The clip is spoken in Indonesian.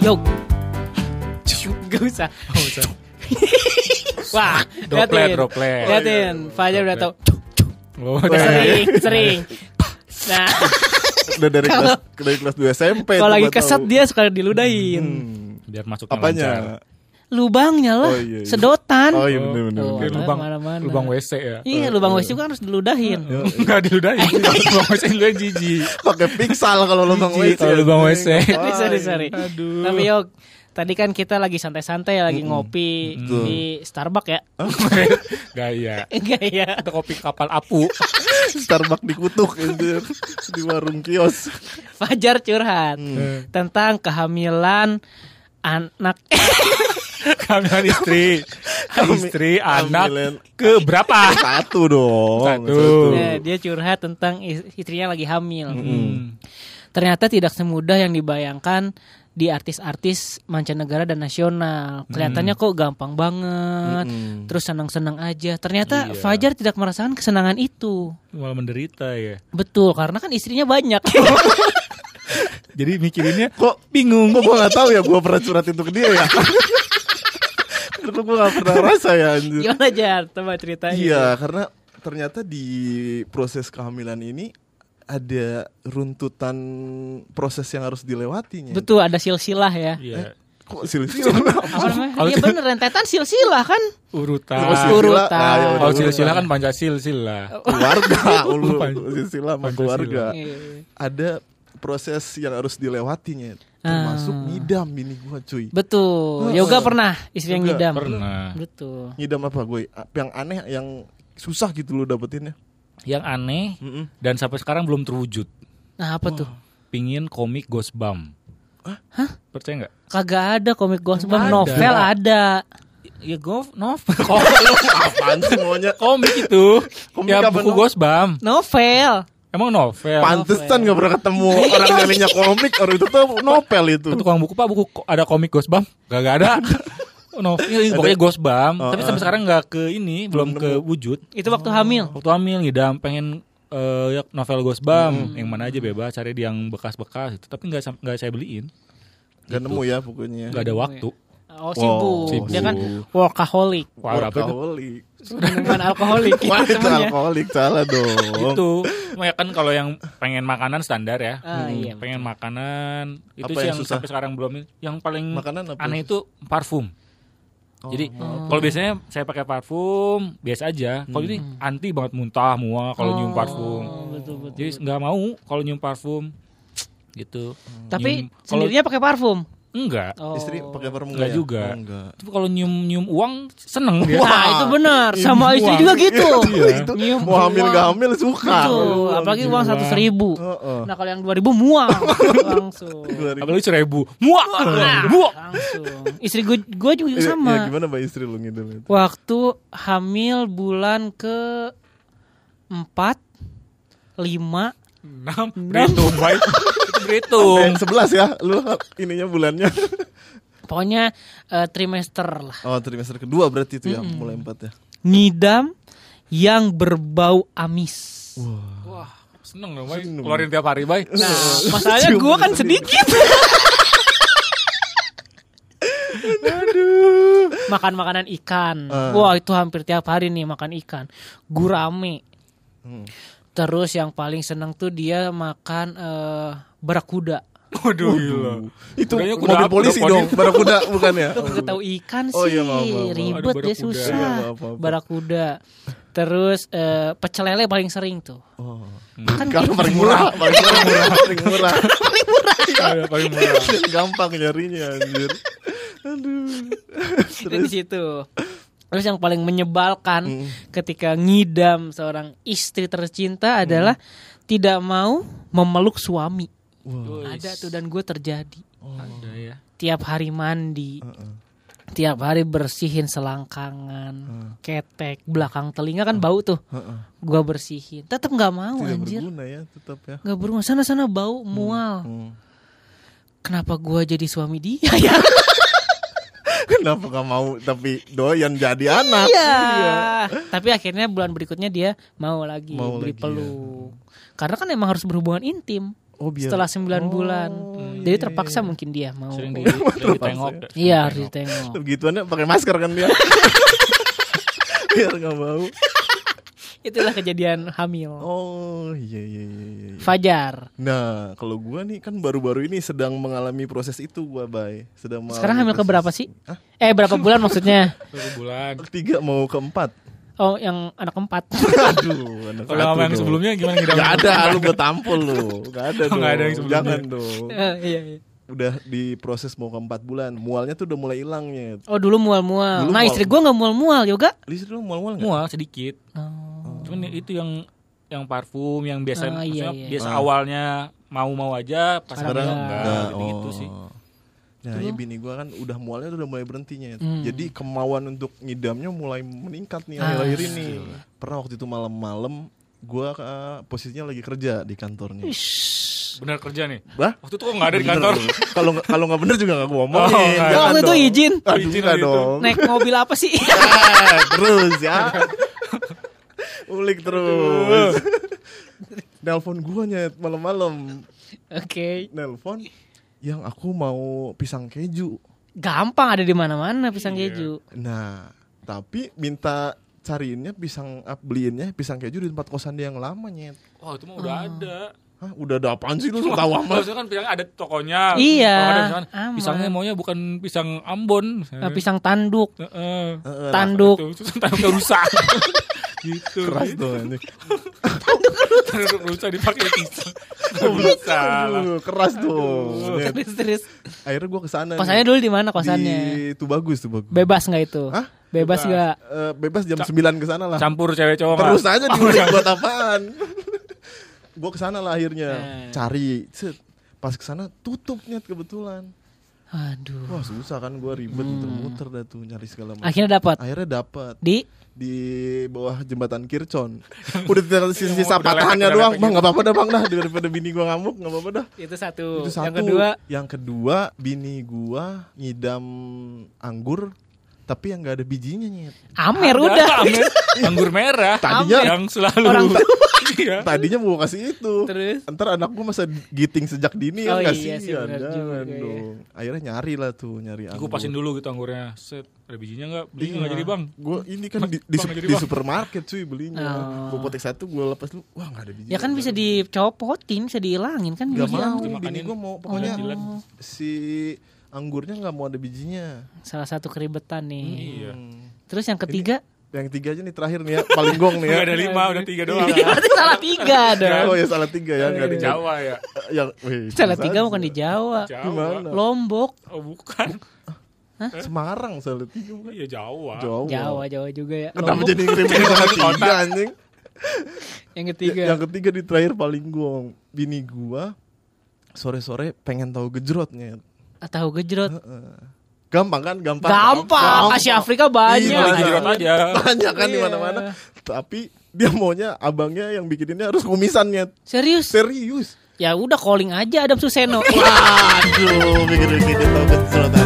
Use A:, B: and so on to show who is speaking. A: Jog. Gak usah.
B: Oh,
A: Wah,
C: Droplet,
A: liatin.
C: droplet.
A: Liatin, Fajar udah tau.
C: Oh,
A: Udah
C: udah.
A: sering, sering. Nah,
B: Udah dari kelas dari kelas 2 SMP.
A: kalau
B: tuh
A: lagi
B: gua
A: keset
B: tahu.
A: dia suka diludahin.
B: Hmm,
C: biar masuknya lancar.
B: Apanya?
A: Lubangnya lah,
B: Oh, iya, iya.
A: sedotan.
B: Oh iya
C: Oh.
B: Oh, bener bener.
A: Tuh,
C: Kayak
B: bener.
A: Mana-mana.
C: lubang lubang WC ya.
A: Iya, lubang WC kan harus diludahin.
B: Iya.
C: Enggak diludahin. lubang WC lu yang jijik.
B: Pakai piksel kalau lubang
C: Jijik
B: WC.
C: kalau lubang WC.
A: sorry, sorry, sorry.
C: Aduh.
A: Tapi yuk, tadi kan kita lagi santai-santai, lagi ngopi
B: Betul.
A: di Starbucks ya.
C: Gaya.
A: Enggak ya.
C: Itu iya. kopi kapal apu.
B: Starbucks dikutuk anjir. di warung kios.
A: Fajar curhat
B: Hmm.
A: tentang kehamilan anak
C: Kehamilan istri. Istri
B: Kehamilan.
C: anak ke berapa?
B: Satu dong.
C: Satu.
A: Nah, dia curhat tentang is- istrinya lagi hamil.
C: Hmm.
A: Ternyata tidak semudah yang dibayangkan di artis-artis mancanegara dan nasional. Kelihatannya kok gampang banget,
B: Mm-mm.
A: terus senang-senang aja. Ternyata
C: Iya.
A: Fajar tidak merasakan kesenangan itu.
C: Malah menderita ya.
A: Betul, karena kan istrinya banyak.
C: Jadi mikirinnya
B: Kok
C: bingung.
B: Kok gue gak tahu ya gue pernah curhat itu ke dia ya Kok gue gak pernah rasa ya anjir
A: Gimana Jar? Coba ceritain.
B: Iya karena ternyata di proses kehamilan ini Ada runtutan proses yang harus dilewatinya
A: Betul, ada silsilah ya.
C: Iya.
B: Kok silsilah?
A: Apa namanya?
C: Kalau
A: Iya
C: sil-
A: bener, rentetan silsilah kan.
C: Urutan.
B: Kok silsilah?
A: urutan.
B: Ah, ya udah,
C: Kalau
B: urutan.
C: silsilah kan Pancasila sila.
B: Keluarga ulu.
C: Pan-
B: Silsilah sama
C: Pancasila.
B: keluarga
A: Iya, iya.
B: Ada proses yang harus dilewatinya Termasuk
A: Ah.
B: ngidam ini gue cuy
A: Betul.
B: Heeh.
A: Yoga pernah istri yang
B: Yoga
A: ngidam.
C: Pernah.
A: Betul.
B: Ngidam apa gue? Yang aneh yang susah gitu lo dapetinnya
C: Yang aneh
B: Mm-mm.
C: dan sampai sekarang belum terwujud.
A: Nah, apa tuh?
C: Pingin komik Ghost Bump. Hah? Percaya nggak?
A: Kagak ada komik Ghostbump
C: Ada.
A: novel ada.
C: Ya go novel. Komik-
B: Apaan sih maunya?
C: komik itu.
B: Komik
C: ya
B: apa
C: buku
B: novel?
C: Ghost Bump.
A: Novel.
C: Emang novel.
B: Pantesan gak pernah ketemu orang namanya komik orang itu tuh novel itu.
C: Ke tukang buku pak buku ko- ada komik Ghost Bump? Gak, gak ada. novel ini pokoknya Ghost Bump.
B: Oh,
C: Tapi sampai sekarang nggak ke ini belum ke wujud.
A: Itu waktu hamil.
C: Waktu hamil ngidam pengen eh, ya, novel Ghost Bump yang mana aja bebas cari di yang bekas-bekas itu tapi nggak sam- nggak saya beliin
B: Gak nemu ya pokoknya.
C: nggak Gitu. ada waktu
B: Iya.
A: Oh,
B: Wow,
A: sibuk. Dia
C: sibuk.
A: kan workaholic.
C: Wah, apa itu? Ah,
B: Workaholic.
A: Minuman alkoholik itu
B: Wah itu
A: temennya.
B: alkoholik salah dong.
C: itu ya kan kalau yang pengen makanan standar ya
A: Ah, iya.
C: pengen makanan itu
B: Apa
C: sih
B: yang
C: yang,
B: susah?
C: sampai sekarang belum yang paling
B: Makanan apa? Oh,
C: aneh itu parfum jadi kalau biasanya saya pakai parfum biasa aja kalau ini anti banget muntah mual kalau nyium parfum
A: Hmm. Oh, betul, betul,
C: jadi nggak mau kalau nyium parfum gitu
A: Tapi
C: Nyium- kalau-
A: sendirinya pakai parfum.
C: enggak
A: Oh.
B: Istri pakai parfum
C: Nggak
B: ya?
C: juga.
B: Oh, enggak.
C: Tapi kalau nyium nyium uang seneng
B: Iya.
C: dia
A: Nah, itu benar. Sama istri juga gitu.
B: Itu
A: Nyium
B: Iya. mau hamil
A: uang.
B: gak hamil suka.
A: Betul. Apalagi uang
C: Uang.
A: seratus ribu.
B: Heeh. Iya,
A: Nah, kalau yang dua ribu muang langsung.
C: apalagi seribu muak muak
A: langsung. Istri gue, gue juga
B: Ya,
A: sama.
B: ya, gimana mbak istri lu ngidam itu?
A: Waktu hamil bulan ke empat, lima,
C: enam berhitung baik itu berhitung
B: Yang sebelas ya, lu ininya bulannya.
A: pokoknya eh, trimester lah.
B: Oh trimester kedua berarti itu ya, mulai empat ya.
A: Ngidam yang berbau amis.
C: Wah, seneng dong, Bay. Keluarin tiap hari, Bay.
A: Nah, masalahnya gue kan sedikit. Makan makanan ikan. Wah, itu hampir tiap hari nih makan ikan. Gurame. Terus yang paling seneng tuh dia makan eh, barakuda.
C: Waduh, gila.
B: Itu
C: Kudanya kuda
B: mobil
C: apa?
B: polisi
C: Kuda poni.
B: dong, barakuda bukan ya?
A: Itu kagak tahu ikan sih,
B: Oh, iya, maaf, maaf, maaf.
A: ribet
C: Aduh,
A: ya
C: barakuda.
A: susah.
B: Iya, maaf, maaf.
A: Barakuda. Terus eh, pecel lele paling sering tuh.
B: Oh.
A: Kan
B: Kalau
A: kita-
B: paling murah, paling murah, paling murah.
C: Ada Iya, paling murah.
B: Gampang nyarinya anjir.
A: Itu di situ. Terus yang paling menyebalkan ketika ngidam seorang istri tercinta adalah
B: Mm.
A: tidak mau memeluk suami. Ada tuh dan gue terjadi.
C: Ada ya.
A: Tiap hari mandi. Tiap hari bersihin selangkangan,
B: Mm.
A: ketek, belakang telinga kan bau tuh. Gua bersihin. Tetap nggak mau
B: Tidak
A: Oh, anjir.
B: berguna ya tetap ya.
A: Nggak berguna. Sana-sana bau mual.
B: Hmm.
A: Kenapa gua jadi suami dia ya?
B: Kenapa gak mau tapi doyan jadi anak?
A: Iya. Tapi akhirnya bulan berikutnya dia mau lagi
B: Mau
A: beli
B: lagi,
A: peluk. Karena kan emang harus berhubungan intim.
B: Oh biar.
A: setelah 9 bulan.
B: iya,
A: Jadi
B: iya,
A: terpaksa
B: iya.
A: mungkin dia mau.
C: sering di,
A: Iya,
C: sering ditengok
A: harus ditengok.
B: begituannya pakai masker kan dia. biar nggak bau.
A: Itulah kejadian hamil.
B: Oh iya iya iya. iya, iya.
A: Fajar.
B: Nah kalau gua nih kan baru-baru ini sedang mengalami proses itu gua bay. Sedang
A: Sekarang hamil
B: mengalami
A: ke
B: proses-
A: berapa sih? Eh berapa bulan maksudnya?
C: satu bulan
B: Tiga mau keempat.
A: Oh, yang anak keempat.
B: Aduh. anak
C: kalau
B: satu
C: sama yang
B: dong.
C: sebelumnya gimana kita
B: Gak ada, lu gue tampol lu Gak ada
C: Oh,
B: dong,
C: nggak ada yang sebelumnya.
B: jangan dong
A: Eh, iya, iya.
B: Udah diproses mau ke 4 bulan Mualnya tuh udah mulai hilang ya
A: Oh, dulu mual-mual.
B: Dulu
A: Nah,
B: mual.
A: istri gua nggak mual-mual, Yoga.
B: Lis lu mual-mual gak?
C: mual sedikit
B: Oh.
C: cuman ya itu yang yang parfum yang biasa
A: Ah, iya,
C: maksudnya
A: iya.
C: biasa
B: Ah.
C: awalnya mau-mau aja pas
A: Sekarang
C: sekarang
A: enggak.
C: enggak gitu sih
B: oh. Nah ya bini gue kan udah mualnya tuh udah mulai berhentinya ya. Jadi kemauan untuk ngidamnya mulai meningkat nih akhir-akhir ini Pernah waktu itu malam-malam Gue posisinya lagi kerja di kantornya
C: benar kerja nih
B: Bah?
C: waktu itu kok nggak ada di kantor
B: Bener dong. Kalau nggak- kalau nggak bener juga nggak gue omongin.
C: Oh, nggak ada. Ah,
B: Jangan
A: Waktu itu
B: dong.
A: izin.
B: Aduh,
C: Izin
B: nggak
C: waktu itu.
B: dong.
A: Naik mobil apa sih?
B: Eh, terus ya. Ulik terus. Nelpon gua nyet malam-malam.
A: Oke.
B: Nelpon yang aku mau pisang keju.
A: Gampang ada di mana-mana pisang keju.
B: Nah, tapi minta cariinnya pisang ah, beliinnya pisang keju di tempat kosan dia yang lama nyet.
C: wah itu mah udah
A: Oh.
C: ada
B: Hah, udah ada apaan sih lu tahu amat?
C: Maksudnya kan pisang ada tokonya
A: Iya,
C: Kalau ada misalkan,
A: aman.
C: pisangnya maunya bukan pisang Ambon
A: Nah, pisang tanduk,
C: Heeh.
B: Heeh, lah,
A: tanduk.
C: Tuh, terus tanduknya rusak gitu
B: keras dong anjing.
C: Tanduk rusak dipakai pisang rusak
B: Aduh, keras dong. Nyet.
A: Terus terus.
B: Akhirnya gua kesana
A: Kosannya
B: nih.
A: dulu di mana kosannya?
B: Di itu bagus tuh bagus.
A: Bebas nggak itu?
B: Hah?
A: Bebas nggak?
B: bebas jam 9 kesana lah.
C: campur cewek cowok
B: Terus
C: nggak?
B: aja
A: Oh
B: diulik buat apaan? gue kesana lah akhirnya
A: Eh.
B: cari, set. pas kesana tutupnya kebetulan.
A: Aduh.
B: Wah susah kan gue ribet muter-muter dah tuh nyari segala macam.
A: Hmm. Akhirnya dapat
B: Akhirnya dapat
A: di
B: di bawah jembatan Kircon. Udah tinggal
C: Udah
B: sisa-sisa
C: lepek,
B: patahannya
C: udah
B: doang.
C: lepek
B: Bang nggak apa-apa dah bang dah daripada bini gue ngamuk nggak apa-apa dah.
A: itu satu.
B: Itu satu.
A: Yang kedua
B: yang kedua bini gue ngidam anggur tapi yang nggak ada bijinya nyet.
A: Amer
C: Ada,
A: udah.
C: Amer. anggur merah
B: Tadinya-
C: yang selalu
A: Orang
C: Iya.
B: Tadinya mau kasih itu.
A: Terus
B: Ntar anak gua masa giting sejak dini
A: Oh
B: kan
A: iya
B: kasihan
A: sih, benar
B: jangan
A: juga, iya.
B: dong. Akhirnya nyari lah tuh nyari
C: Gue pasin dulu gitu anggurnya. Set, ada bijinya enggak? Beli
B: Iya.
C: enggak jadi, Bang?
B: Gua ini kan di,
C: Bang,
B: di,
C: nggak jadi,
B: di
C: Bang.
B: supermarket cuy belinya.
A: Oh.
B: Gua potek satu gua lepas lu. Wah, enggak ada biji.
A: ya kan bisa dicopotin, bisa dihilangin kan
B: Gak
A: bisa.
B: mau,
C: dimakanin.
B: bini gua mau pokoknya
C: jilat-jilat.
B: si anggurnya nggak mau ada bijinya.
A: Salah satu keribetan nih.
C: Iya.
A: Terus yang ketiga
B: Yang tiga aja nih terakhir nih ya, paling gong nih ya.
C: Enggak ada lima, udah tiga doang.
A: Iya, berarti salah tiga dong.
B: Oh ya salah tiga ya, enggak
C: Di
B: ada jauh.
C: Jawa ya.
B: Yang wih,
A: Salah
B: susah
A: tiga
B: aja.
A: bukan di Jawa.
C: Jawa.
B: Gimana?
A: Lombok,
C: Oh, bukan.
B: Semarang salah tiga.
C: Iya, Jawa.
B: Jawa.
A: Jawa, Jawa juga ya.
B: Oh. Kenapa
A: Lombok
B: jadi ngirimin
C: Jawa
B: salah
C: itu kota.
B: tiga anjing?
A: yang
B: Ya,
A: ketiga.
B: Yang ketiga di terakhir paling gong. Bini gua sore-sore pengen tahu gejrotnya. Eh,
A: Tahu gejrot.
B: Gampang kan? Gampang.
A: Gampang, Asia Afrika
C: Beli
B: Iya.
A: banyak.
C: gejrot aja.
B: Banyak kan di
A: Iya.
B: mana-mana. Tapi dia maunya abangnya yang bikininnya harus kumisannya.
A: Serius.
B: Serius.
A: Ya udah calling aja Adam Suseno.
B: Ah, Waduh, bikin-bikin tahu gejrot